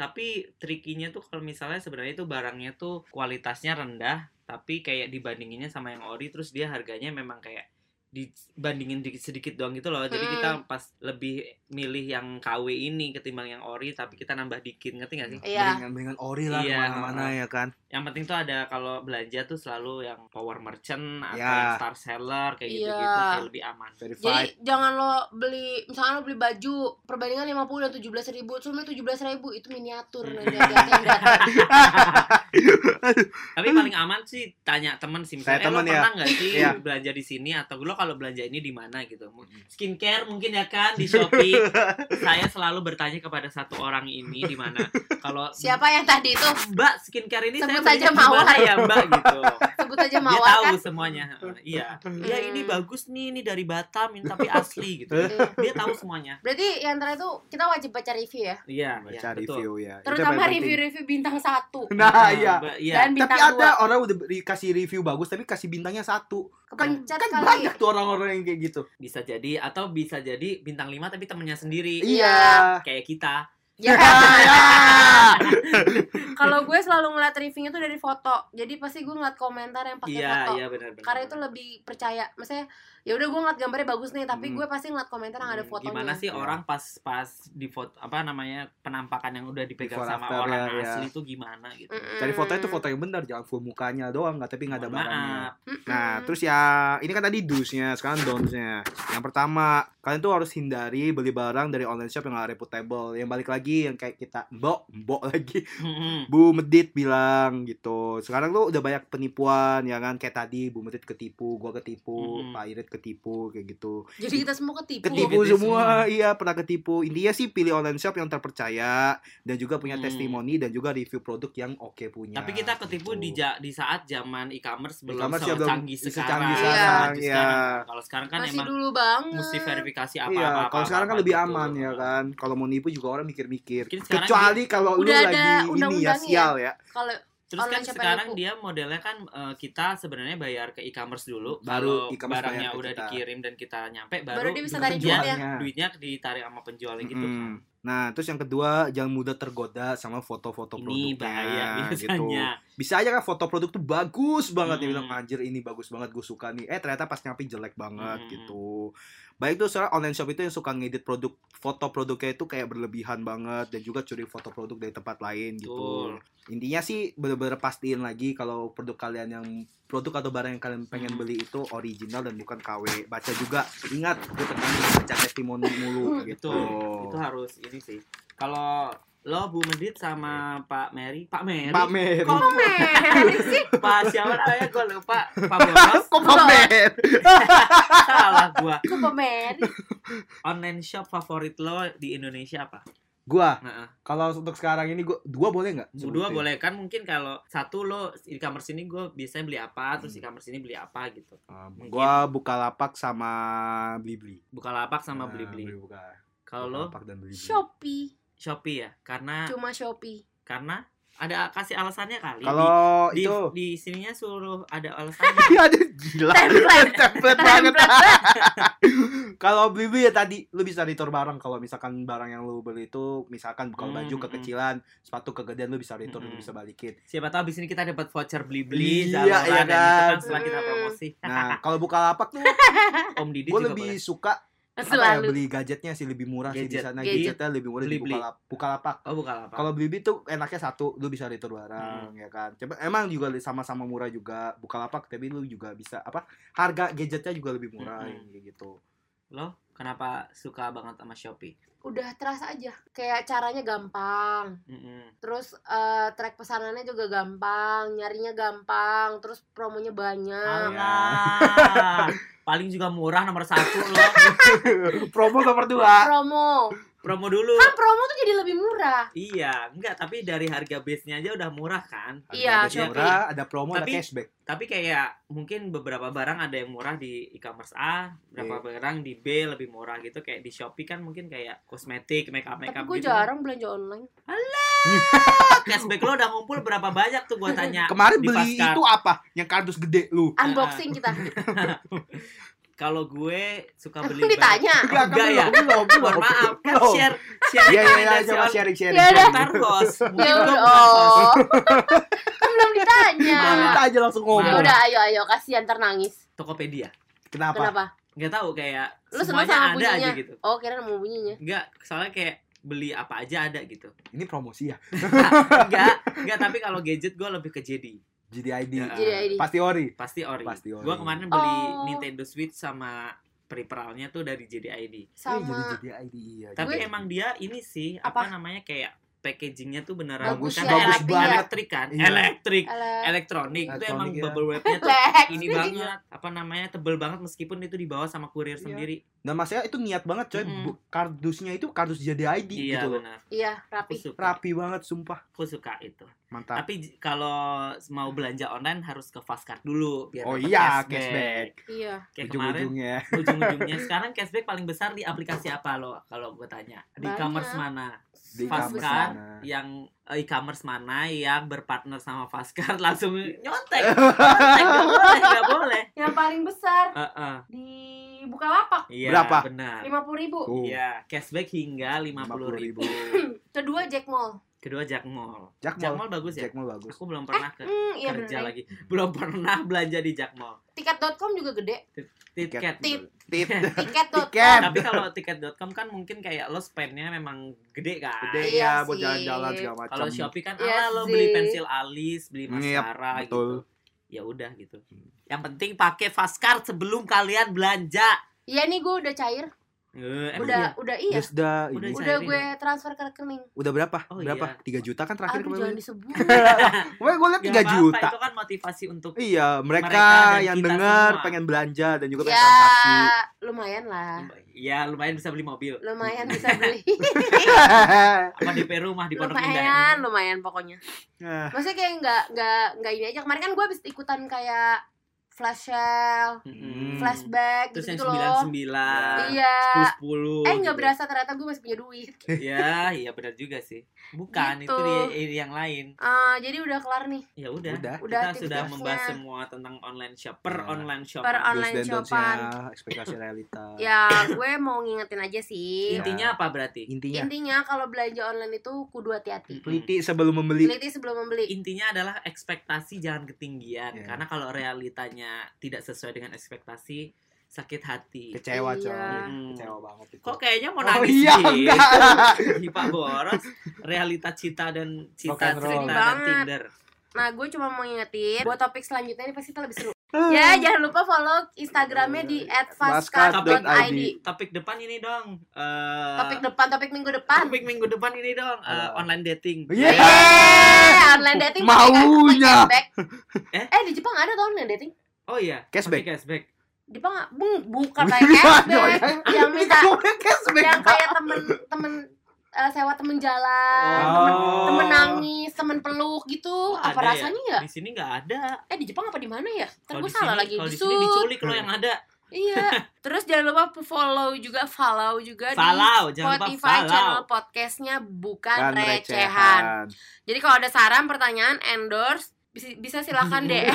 Speaker 1: tapi trikinya tuh kalau misalnya sebenarnya itu barangnya tuh kualitasnya rendah tapi kayak dibandinginnya sama yang ori terus dia harganya memang kayak dibandingin dikit sedikit doang gitu loh jadi
Speaker 2: Mm.
Speaker 1: kita pas lebih milih yang KW ini ketimbang yang ori tapi kita nambah dikit ngerti gak
Speaker 3: Hmm.
Speaker 1: sih
Speaker 2: Iya.
Speaker 3: Mendingan mendingan ori lah
Speaker 1: Iya.
Speaker 3: kemana-mana ya kan.
Speaker 1: yang penting tuh ada kalau belanja tuh selalu yang power merchant atau
Speaker 3: Ya.
Speaker 1: yang star seller kayak gitu gitu
Speaker 2: Iya.
Speaker 1: kayak lebih aman
Speaker 3: Verified.
Speaker 2: Jadi jangan lo beli misalnya lo beli baju perbandingan 50 dan 17 ribu, cuma 17 ribu itu miniatur
Speaker 3: Hmm.
Speaker 2: nanti harganya yang datang.
Speaker 1: tapi paling aman sih tanya temen sih misalnya
Speaker 3: Hmm. Tanya
Speaker 1: eh, lo
Speaker 3: temen ya."
Speaker 1: pernah nggak sih
Speaker 3: Iya. Hmm.
Speaker 1: belanja di sini atau lo kalau belanja ini di mana gitu skincare mungkin ya kan di shopee saya selalu bertanya kepada satu orang ini di mana kalau
Speaker 2: Siapa yang tadi itu?
Speaker 1: mbak skincare ini
Speaker 2: Sebut
Speaker 1: saya
Speaker 2: aja
Speaker 1: belinya di mana
Speaker 2: Mawar.
Speaker 1: ya mbak gitu
Speaker 2: Sebut aja
Speaker 1: dia
Speaker 2: mawar
Speaker 1: tahu
Speaker 2: kan?
Speaker 1: semuanya Heeh, iya
Speaker 3: Hmm.
Speaker 1: ya ini bagus nih ini dari Batam ini tapi asli gitu
Speaker 2: Iya.
Speaker 1: dia tahu semuanya
Speaker 2: Berarti yang terakhir itu kita wajib baca review ya.
Speaker 1: iya
Speaker 3: Baca
Speaker 1: iya betul
Speaker 3: review ya. Itu
Speaker 2: Terutama
Speaker 3: yang penting.
Speaker 2: review-review bintang satu
Speaker 3: Nah, iya.
Speaker 1: Mbak, iya
Speaker 2: dan bintang
Speaker 3: Tapi
Speaker 2: dua.
Speaker 3: ada orang udah dikasih review bagus tapi kasih bintangnya satu. Kan,
Speaker 2: Kepencet
Speaker 3: kan
Speaker 2: kali.
Speaker 3: banyak tuh orang-orang yang kayak gitu.
Speaker 1: bisa jadi atau bisa jadi bintang 5 tapi temennya sendiri
Speaker 2: Iya.
Speaker 1: kayak kita
Speaker 2: Ya. Hmm. Kalau gue selalu ngeliat reviewnya tuh dari foto. Jadi pasti gue ngeliat komentar yang pakai
Speaker 1: iya
Speaker 2: foto.
Speaker 1: iya benar benar
Speaker 2: Karena itu lebih percaya. Maksudnya ya udah gue ngeliat gambarnya bagus nih, tapi
Speaker 3: Hmm.
Speaker 2: gue pasti ngeliat komentar yang ada
Speaker 1: Hmm,
Speaker 2: fotonya.
Speaker 1: Gimana sih
Speaker 3: Ya.
Speaker 1: orang pas-pas di foto apa namanya penampakan yang udah dipegang
Speaker 3: Before
Speaker 1: sama
Speaker 3: after
Speaker 1: orang
Speaker 3: ya, ya.
Speaker 1: asli itu gimana gitu.
Speaker 2: Mm-mm.
Speaker 3: Cari foto itu foto yang benar, jangan full mukanya doang, nggak tapi nggak ada
Speaker 1: Mohon
Speaker 3: barangnya.
Speaker 1: Maaf.
Speaker 2: Mm-mm.
Speaker 1: Hmm.
Speaker 3: Nah, terus ya ini kan tadi do's-nya, sekarang don'ts-nya. Yang pertama, kalian tuh harus hindari beli barang dari online shop yang gak reputable. Yang balik lagi yang kayak kita mbok, mbok lagi.
Speaker 1: Mm-mm.
Speaker 3: Bu Medit bilang gitu. Sekarang tuh udah banyak penipuan ya kan kayak tadi Bu Medit ketipu, gua ketipu,
Speaker 1: Mm-mm.
Speaker 3: Pak Irit ketipu kayak gitu.
Speaker 2: Jadi kita semua
Speaker 1: Iya,
Speaker 2: ketipu.
Speaker 3: Ketipu
Speaker 1: gede
Speaker 3: semua, iya pernah ketipu. Intinya sih pilih online shop yang terpercaya dan juga punya
Speaker 1: Hmm.
Speaker 3: testimoni dan juga review produk yang oke punya.
Speaker 1: Tapi kita ketipu di
Speaker 3: gitu.
Speaker 1: ja- di saat zaman e-commerce belum
Speaker 3: E-commerce ya
Speaker 1: secanggih
Speaker 3: belum
Speaker 1: canggih sekarang.
Speaker 3: secanggih
Speaker 2: sekarang,
Speaker 1: zaman
Speaker 3: iya.
Speaker 1: sekarang. Kalau sekarang kan
Speaker 2: Masih
Speaker 1: emang
Speaker 2: dulu banget.
Speaker 1: mesti verifikasi apa-apa.
Speaker 3: iya, kalau
Speaker 1: apa-apa,
Speaker 3: sekarang kan
Speaker 1: apa-apa
Speaker 3: lebih
Speaker 1: gitu.
Speaker 3: aman ya kan. Kalau mau nipu juga orang mikir-mikir.
Speaker 1: Mungkin sekarang
Speaker 3: Kecuali kalau lu
Speaker 2: Udah ada
Speaker 3: lagi ini ya
Speaker 2: undang-undangnya
Speaker 3: sial ya.
Speaker 2: Kalau
Speaker 1: Terus kan
Speaker 2: Online siapa yang
Speaker 1: sekarang
Speaker 2: nipu?
Speaker 1: dia modelnya kan eh, kita sebenarnya bayar ke e-commerce dulu.
Speaker 3: Baru
Speaker 1: Kalau
Speaker 3: e-commerce bayar
Speaker 1: barangnya
Speaker 3: ke
Speaker 1: udah
Speaker 3: kita. Nah.
Speaker 1: dikirim dan kita nyampe baru,
Speaker 2: baru, dia bisa tarik
Speaker 1: penjual.
Speaker 2: duit
Speaker 1: duitnya,
Speaker 2: ya.
Speaker 1: duitnya ditarik sama penjualnya gitu.
Speaker 3: Mm-mm. Nah, terus yang kedua, jangan mudah tergoda sama foto-foto
Speaker 1: Ini
Speaker 3: produknya
Speaker 1: bahaya
Speaker 3: gitu.
Speaker 1: biasanya.
Speaker 3: Bisa aja kan foto produk tuh bagus banget dia
Speaker 1: Mm.
Speaker 3: bilang anjir ini bagus banget gue suka nih. Eh ternyata pas nyampe jelek banget
Speaker 1: Mm.
Speaker 3: gitu. Baik tuh soalnya online shop itu yang suka ngedit produk foto produknya itu kayak berlebihan banget dan juga curi foto produk dari tempat lain gitu.
Speaker 1: Betul.
Speaker 3: Intinya sih bener-bener pastiin lagi kalau produk kalian yang produk atau barang yang kalian pengen
Speaker 1: Mm.
Speaker 3: beli itu original dan bukan KW. Baca juga, ingat gue tekanin baca testimoni mulu gitu.
Speaker 1: Hmm, Betul. Itu harus ini sih. Kalau lo Bu Medit sama Pak Mary, Pak Mary.
Speaker 3: Iya. Pak Mer.
Speaker 1: Kok
Speaker 2: Meh, sih.
Speaker 1: Pak siapa namanya gue lupa. Pak Boros.
Speaker 3: Kok Pak Mer?
Speaker 1: Salah gua.
Speaker 2: Kok pemer?
Speaker 1: Online shop favorit lo di Indonesia apa?
Speaker 3: Gua
Speaker 1: Heeh.
Speaker 3: kalau untuk sekarang ini gua dua boleh nggak?
Speaker 1: Dua
Speaker 3: Sebutin.
Speaker 1: boleh kan mungkin kalau satu lo e-commerce ini gue biasanya beli apa, terus
Speaker 3: Hmm.
Speaker 1: e-commerce ini beli apa gitu.
Speaker 3: Um,
Speaker 1: Mungkin.
Speaker 3: gua buka lapak sama Blibli.
Speaker 1: Bukalapak
Speaker 3: Nah,
Speaker 1: sama Blibli.
Speaker 3: buka.
Speaker 1: Kalau lo
Speaker 3: Bukalapak dan Blibli.
Speaker 2: Shopee.
Speaker 1: Shopee ya, karena
Speaker 2: Cuma Shopee.
Speaker 1: karena ada kasih alasannya kali.
Speaker 3: Kalau
Speaker 1: di, di,
Speaker 3: itu
Speaker 1: di sininya suruh ada alasannya.
Speaker 3: ada gila.
Speaker 2: Template.
Speaker 3: Template banget. kalau Blibli ya tadi lu bisa retur barang kalau misalkan barang yang lu beli itu misalkan kalau
Speaker 1: Hmm,
Speaker 3: baju
Speaker 1: hmm.
Speaker 3: kekecilan, sepatu kegedean lu bisa retur, lu
Speaker 1: Hmm,
Speaker 3: bisa balikin.
Speaker 1: Siapa tahu abis ini kita dapat voucher beli-beli
Speaker 3: Iya,
Speaker 1: Zalora,
Speaker 3: iya
Speaker 1: dan itu
Speaker 3: kan.
Speaker 1: kan setelah kita
Speaker 2: Hmm.
Speaker 1: promosi. Nah,
Speaker 3: Nah, kalau buka lapak tuh
Speaker 1: Om Didi
Speaker 3: gua
Speaker 1: juga
Speaker 3: lebih
Speaker 1: Gitu boleh.
Speaker 3: suka apa ya,
Speaker 2: Selalu.
Speaker 3: beli gadgetnya sih lebih murah sih di
Speaker 1: Gadget.
Speaker 3: sana.
Speaker 2: Gadget.
Speaker 3: Gadgetnya lebih murah di
Speaker 1: Blibli.
Speaker 3: buka lapak.
Speaker 1: Oh, Bukalapak.
Speaker 3: Kalau Blibli tuh enaknya satu, lu bisa retur
Speaker 1: Hmm.
Speaker 3: barang ya kan. Coba emang juga sama-sama murah juga Bukalapak, tapi lu juga bisa apa? Harga gadgetnya juga lebih murah
Speaker 1: Mm-mm.
Speaker 3: kayak gitu.
Speaker 1: Lo kenapa suka banget sama Shopee?
Speaker 2: Udah terasa aja. Kayak caranya gampang.
Speaker 1: Mm-mm.
Speaker 2: Terus eh, track pesanannya juga gampang, nyarinya gampang, terus promonya
Speaker 1: Oh,
Speaker 2: banyak.
Speaker 1: Alah. Ya. Paling juga murah nomor satu lo.
Speaker 3: Promo nomor dua.
Speaker 2: Promo.
Speaker 1: Promo dulu.
Speaker 2: Kan promo tuh jadi lebih murah.
Speaker 1: Iya, enggak, tapi dari harga base-nya aja udah murah kan.
Speaker 3: Ada
Speaker 2: Iya,
Speaker 3: gadget
Speaker 1: Shopee.
Speaker 3: murah, ada promo, ada
Speaker 1: Tapi-
Speaker 3: cashback.
Speaker 1: Tapi kayak mungkin beberapa barang ada yang murah di e-commerce A,
Speaker 3: Iya.
Speaker 1: beberapa barang di B lebih murah gitu kayak di Shopee kan mungkin kayak kosmetik, make up, make
Speaker 2: Tapi
Speaker 1: up
Speaker 2: gue
Speaker 1: gitu.
Speaker 2: jarang belanja online.
Speaker 1: Cashback lo udah ngumpul berapa banyak tuh gua tanya.
Speaker 3: Kemarin
Speaker 1: Nah, di
Speaker 3: beli
Speaker 1: Pascard.
Speaker 3: itu apa? Yang kardus gede lu.
Speaker 2: Unboxing kita.
Speaker 1: Kalau gue suka
Speaker 2: Emang
Speaker 1: beli barang-
Speaker 2: ditanya.
Speaker 1: Enggak,
Speaker 3: kan
Speaker 1: ya?
Speaker 3: belum, belum, belum.
Speaker 1: Mohon maaf, kan
Speaker 3: Belum.
Speaker 1: share share
Speaker 3: Iya, iya, iya, coba
Speaker 1: rekomendasi
Speaker 3: sharing, sharing.
Speaker 2: Ya udah.
Speaker 3: sharing.
Speaker 1: Bentar, Bos. Mungkin
Speaker 2: Ya
Speaker 1: gua
Speaker 2: udah.
Speaker 1: bukan host.
Speaker 2: Oh. kan belum ditanya.
Speaker 3: Nah, Kita aja langsung
Speaker 2: Ya
Speaker 3: ngomong.
Speaker 2: udah, ayo ayo kasihan ntar nangis.
Speaker 1: Tokopedia.
Speaker 3: Kenapa?
Speaker 2: Kenapa?
Speaker 1: Nggak tahu kayak
Speaker 2: Lu seneng
Speaker 1: semuanya
Speaker 2: sama
Speaker 1: ada
Speaker 2: bunyinya?
Speaker 1: aja gitu.
Speaker 2: Oh, kira mau bunyinya.
Speaker 1: Enggak, soalnya kayak beli apa aja ada gitu.
Speaker 3: Ini promosi ya.
Speaker 1: Enggak, enggak tapi kalau gadget gue lebih ke JD. Iya.
Speaker 3: GDID.
Speaker 2: Jadi ID.
Speaker 3: Pasti ori.
Speaker 1: Pasti ori.
Speaker 3: Pasti ori.
Speaker 1: Gue kemarin beli
Speaker 2: Oh.
Speaker 1: Nintendo Switch sama peripheralnya tuh dari JDID.
Speaker 3: Jadi
Speaker 2: Sama
Speaker 3: GDID iya.
Speaker 1: Tapi
Speaker 3: GDID.
Speaker 1: emang dia ini sih apa,
Speaker 2: Apa?
Speaker 1: namanya kayak packagingnya tuh beneran
Speaker 2: Bagus
Speaker 1: kan
Speaker 2: ya,
Speaker 1: elektrik,
Speaker 2: tapi ya.
Speaker 1: elektrik kan?
Speaker 3: Iya.
Speaker 1: Elektrik,
Speaker 2: Elek.
Speaker 1: elektronik. Itu
Speaker 3: Elektronik
Speaker 1: emang
Speaker 3: ya.
Speaker 1: bubble wrapnya tuh
Speaker 2: Elek.
Speaker 1: ini banget apa namanya tebel banget meskipun itu dibawa sama kurir
Speaker 3: Iya.
Speaker 1: sendiri
Speaker 3: Nah, maksudnya itu niat banget coy.
Speaker 1: Mm-mm.
Speaker 3: Bu- Kardusnya itu kardus JDID
Speaker 1: iya
Speaker 3: gitu loh.
Speaker 1: benar
Speaker 2: Iya,
Speaker 1: aku
Speaker 2: rapi.
Speaker 1: suka
Speaker 3: Rapi banget sumpah.
Speaker 1: aku suka itu
Speaker 3: Mantap.
Speaker 1: tapi j- kalau mau belanja online harus ke Fastcard dulu biar
Speaker 3: Hmm. Oh
Speaker 1: ya, dapat
Speaker 3: iya, cashback.
Speaker 2: Iya.
Speaker 1: kayak kemarin
Speaker 3: Ujung-ujungnya.
Speaker 1: ujung-ujungnya sekarang cashback paling besar di aplikasi apa lo kalau gue tanya di
Speaker 2: Banyak.
Speaker 1: e-commerce mana
Speaker 3: Di
Speaker 1: Fast
Speaker 3: e-commerce
Speaker 1: card.
Speaker 3: sana.
Speaker 1: yang eh, e-commerce mana yang berpartner sama Fastcard langsung nyontek nyontek nggak boleh nggak boleh
Speaker 2: Yang paling besar
Speaker 1: Eh, eh.
Speaker 2: di buka lapak
Speaker 1: Iya,
Speaker 3: Berapa?
Speaker 1: Benar.
Speaker 2: lima puluh ribu
Speaker 3: Tuh,
Speaker 1: Iya, cashback hingga 50.000.
Speaker 3: ribu.
Speaker 2: kedua Jack Mall
Speaker 1: Kedua Jakmall.
Speaker 3: Jack Mall,
Speaker 1: Jakmall bagus ya?
Speaker 3: Jack Mall bagus.
Speaker 1: Aku belum pernah ke
Speaker 2: hmm iya
Speaker 1: Nah, kerja
Speaker 2: bener
Speaker 1: lagi. Belum pernah belanja di Jakmall.
Speaker 2: tiket.com juga gede
Speaker 1: Tiket.
Speaker 2: Tiket.
Speaker 3: Tit.
Speaker 2: tiket.com
Speaker 3: Tiket.
Speaker 1: Tapi kalau tiket.com kan mungkin kayak lo spendnya memang gede kan.
Speaker 3: Gede ya
Speaker 2: Iya
Speaker 3: buat
Speaker 2: sih.
Speaker 3: jalan-jalan segala macam.
Speaker 1: Kalau Shopee kan
Speaker 2: Iya
Speaker 1: ala lo
Speaker 2: sih.
Speaker 1: beli pensil alis, beli
Speaker 3: Yep,
Speaker 1: maskara
Speaker 3: betul.
Speaker 1: gitu. Ya udah gitu. Yang penting pakai Fastcard sebelum kalian belanja.
Speaker 2: Iya nih gue udah cair
Speaker 1: Eh, emang
Speaker 2: udah udah iya
Speaker 3: Terus dah
Speaker 1: Udah
Speaker 3: ini.
Speaker 1: cair.
Speaker 2: udah
Speaker 1: cairin
Speaker 2: gue transfer ke rekening
Speaker 3: Udah berapa?
Speaker 1: Oh,
Speaker 3: berapa?
Speaker 1: iya.
Speaker 3: 3 juta kan terakhir
Speaker 2: aduh jangan
Speaker 3: kemarin.
Speaker 2: disebut
Speaker 3: Wah, gue
Speaker 1: Gak
Speaker 3: liat 3
Speaker 1: Ya, apa-apa,
Speaker 3: juta.
Speaker 1: Itu kan motivasi untuk
Speaker 3: Iya, mereka,
Speaker 1: Mereka dan
Speaker 3: yang
Speaker 1: kita
Speaker 3: dengar
Speaker 1: semua.
Speaker 3: pengen belanja dan juga pengen
Speaker 2: ya
Speaker 3: transaksi.
Speaker 2: lumayan lah
Speaker 1: ya lumayan bisa beli mobil.
Speaker 2: lumayan bisa beli
Speaker 1: Apa DP rumah di Pondok Indah. ya?
Speaker 2: lumayan lumayan pokoknya
Speaker 3: Nah,
Speaker 2: maksudnya kayak nggak nggak nggak ini aja kemarin kan gue habis ikutan kayak flash sale
Speaker 1: Mm-mm.
Speaker 2: flashback
Speaker 1: Hmm. Terus
Speaker 2: gitu,
Speaker 1: yang gitu
Speaker 2: gitu loh
Speaker 1: 99
Speaker 2: iya
Speaker 1: 10
Speaker 2: eh
Speaker 3: gitu.
Speaker 2: nggak berasa ternyata gue masih punya duit
Speaker 1: Ya, iya benar juga sih. Bukan itu
Speaker 2: Gitu.
Speaker 1: di- di yang lain.
Speaker 2: Eh, jadi udah kelar nih
Speaker 1: Ya udah.
Speaker 3: Udah.
Speaker 2: Udah
Speaker 1: Kita sudah
Speaker 2: aktivitasnya.
Speaker 1: membahas semua tentang online shop, per
Speaker 3: Ya.
Speaker 1: online shop.
Speaker 2: Per on-
Speaker 3: do's
Speaker 2: Online
Speaker 3: dan don'ts-nya, ekspektasi realita.
Speaker 2: ya gue mau ngingetin aja sih
Speaker 3: Iya.
Speaker 1: Intinya apa berarti?
Speaker 3: Intinya,
Speaker 2: intinya kalau belanja online itu kudu hati-hati
Speaker 3: teliti sebelum membeli.
Speaker 2: teliti sebelum membeli
Speaker 1: Intinya adalah ekspektasi jangan ketinggian
Speaker 3: Ya.
Speaker 1: karena kalau realitanya tidak sesuai dengan ekspektasi sakit hati.
Speaker 3: Kecewa,
Speaker 2: Iya.
Speaker 3: coy.
Speaker 1: Mm.
Speaker 3: Kecewa banget itu.
Speaker 1: Kok kayaknya mau
Speaker 3: Oh,
Speaker 1: nangis
Speaker 3: iya,
Speaker 1: gitu?
Speaker 3: enggak.
Speaker 1: Ih, Pak Boros, realita cita dan
Speaker 3: Rock
Speaker 1: cita
Speaker 3: and roll.
Speaker 1: cerita
Speaker 2: Sedih
Speaker 1: dan
Speaker 2: banget.
Speaker 1: Tinder.
Speaker 2: nah gue cuma mau ngingetin buat topik selanjutnya ini pasti kita lebih seru ya jangan lupa follow instagramnya di @fastcard.id
Speaker 1: Topik depan ini dong. eh,
Speaker 2: topik depan topik minggu depan
Speaker 1: topik Ah, minggu depan ini dong eh,
Speaker 3: Apa?
Speaker 1: online dating.
Speaker 3: Iya.
Speaker 2: Yeay, Eh, online dating pakai ka- pakai
Speaker 3: Maunya.
Speaker 2: cashback.
Speaker 1: Eh?
Speaker 2: Eh di Jepang ada tau online dating?
Speaker 1: Oh iya.
Speaker 3: Cashback.
Speaker 1: Pakai Cashback.
Speaker 2: Jepang nggak- bu, bukan pakai cashback, yang Iya, minta
Speaker 3: cashback.
Speaker 2: yang kayak temen-temen eh, sewa temen jalan,
Speaker 1: Oh.
Speaker 2: temen, temen nangis, temen peluk gitu.
Speaker 1: Oh,
Speaker 2: apa
Speaker 1: ada ya?
Speaker 2: rasanya ya?
Speaker 1: Di sini nggak ada.
Speaker 2: Eh di Jepang apa di mana ya? Terus
Speaker 1: Kalau
Speaker 2: gue
Speaker 1: di
Speaker 2: salah
Speaker 1: sini,
Speaker 2: lagi
Speaker 1: kalau
Speaker 2: di
Speaker 1: di sini
Speaker 2: Sud.
Speaker 1: diculik lo yang ada.
Speaker 2: Iya. Terus jangan lupa follow juga follow juga di
Speaker 1: Falau, jangan lupa
Speaker 2: Spotify
Speaker 1: falau.
Speaker 2: channel podcastnya bukan recehan. Jadi kalau ada saran, pertanyaan, endorse, bisa, bisa silakan DM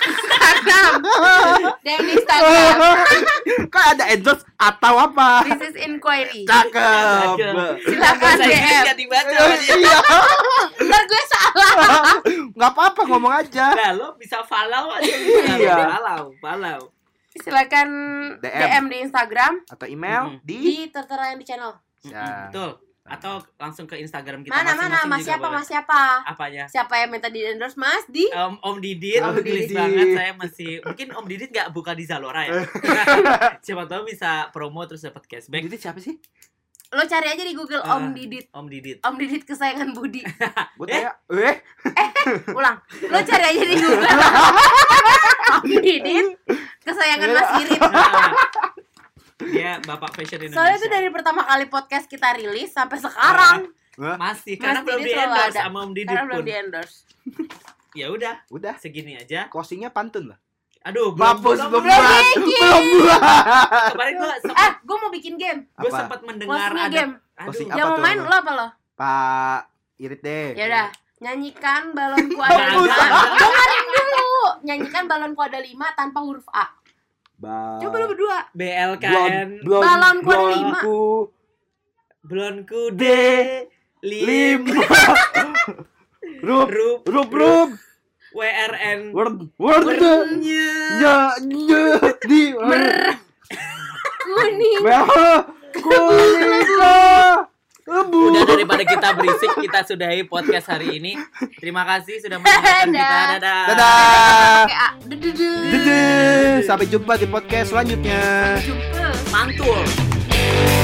Speaker 2: Instagram, DM di Instagram.
Speaker 3: Kok ada endorse atau apa?
Speaker 2: This is inquiry.
Speaker 1: Iya,
Speaker 3: Cakep.
Speaker 2: Silakan
Speaker 1: Saya
Speaker 2: DM.
Speaker 1: nggak dibaca.
Speaker 3: Iya,
Speaker 2: Ntar gue salah.
Speaker 3: nggak apa-apa ngomong aja.
Speaker 1: Nah, lo bisa falau aja.
Speaker 3: Iya.
Speaker 1: Falau, falau.
Speaker 2: Silakan
Speaker 3: DM.
Speaker 2: DM, di Instagram
Speaker 1: Hmm?
Speaker 3: Atau email
Speaker 1: Mm-mm.
Speaker 3: di.
Speaker 2: di tertera yang di channel.
Speaker 1: Mm-mm,
Speaker 3: Ya.
Speaker 1: Betul. Atau langsung ke Instagram kita
Speaker 2: mana
Speaker 1: masing-masing
Speaker 2: mana mas
Speaker 1: juga
Speaker 2: siapa
Speaker 1: boleh.
Speaker 2: mas siapa?
Speaker 1: Apanya?
Speaker 2: Siapa yang minta di endorse mas di?
Speaker 1: Om Om Didit,
Speaker 3: Om
Speaker 1: Om Didit
Speaker 3: Didit.
Speaker 1: banget saya masih mungkin Om Didit nggak buka di Zalora ya. Siapa tahu bisa promo terus dapat cashback.
Speaker 3: Jadi siapa sih?
Speaker 2: Lo cari aja di Google
Speaker 1: Ah.
Speaker 2: Om Didit.
Speaker 1: Om Didit.
Speaker 2: Om Didit kesayangan Budi.
Speaker 3: Gue
Speaker 1: Eh.
Speaker 3: tanya, eh,
Speaker 2: Ulang. Lo cari aja di Google Om Didit kesayangan Mas Irit.
Speaker 1: Nah, dia bapak fashion Indonesia.
Speaker 2: Soalnya itu dari pertama kali podcast kita rilis sampai sekarang
Speaker 1: masih karena
Speaker 2: Mas
Speaker 1: belum
Speaker 2: Didit
Speaker 1: di
Speaker 2: selalu
Speaker 1: endorse
Speaker 2: ada.
Speaker 1: sama Om Didit
Speaker 2: karena belum
Speaker 1: pun.
Speaker 2: di endorse.
Speaker 1: Ya udah,
Speaker 3: udah.
Speaker 1: segini aja.
Speaker 3: Closingnya pantun lah.
Speaker 1: Aduh,
Speaker 3: Mampus belum
Speaker 1: belum.
Speaker 3: buat, belum buat.
Speaker 1: Kemarin gua
Speaker 2: Eh,
Speaker 1: sempat
Speaker 2: gue mau bikin game.
Speaker 1: gua
Speaker 3: Apa?
Speaker 1: sempat mendengar
Speaker 2: Closingnya
Speaker 1: ada
Speaker 2: game.
Speaker 1: aduh,
Speaker 3: Closing
Speaker 2: Yang
Speaker 3: apa
Speaker 2: mau
Speaker 3: tuh?
Speaker 2: main lo apa lo?
Speaker 3: Pak Irit deh.
Speaker 2: Ya udah, nyanyikan balonku ada
Speaker 1: Jangan,
Speaker 3: Mampus.
Speaker 2: lima.
Speaker 1: jangan.
Speaker 2: Dengerin dulu. Nyanyikan balonku ada lima tanpa huruf A.
Speaker 3: Ba-
Speaker 2: Coba lo berdua.
Speaker 3: Blon-
Speaker 1: BLKN
Speaker 3: blon-
Speaker 2: Balon ku ada
Speaker 3: blon
Speaker 2: lima.
Speaker 3: ku
Speaker 1: Blonku D Lim
Speaker 3: lima. Rup,
Speaker 1: Rup
Speaker 3: rup, rup.
Speaker 1: WRN
Speaker 3: Word, word.
Speaker 1: Wordnya.
Speaker 3: Nya, nya, di.
Speaker 2: Kuning.
Speaker 3: Mel, kulitnya lebu.
Speaker 1: Udah daripada kita berisik, kita sudahi podcast hari ini. Terima kasih sudah mendengarkan kita.
Speaker 2: Dadah.
Speaker 1: Dadah.
Speaker 3: Dadah.
Speaker 2: Pakai A. Dedede.
Speaker 3: Dadah. Sampai jumpa di podcast selanjutnya.
Speaker 2: Jumpa.
Speaker 1: Mantul.
Speaker 2: Yeay.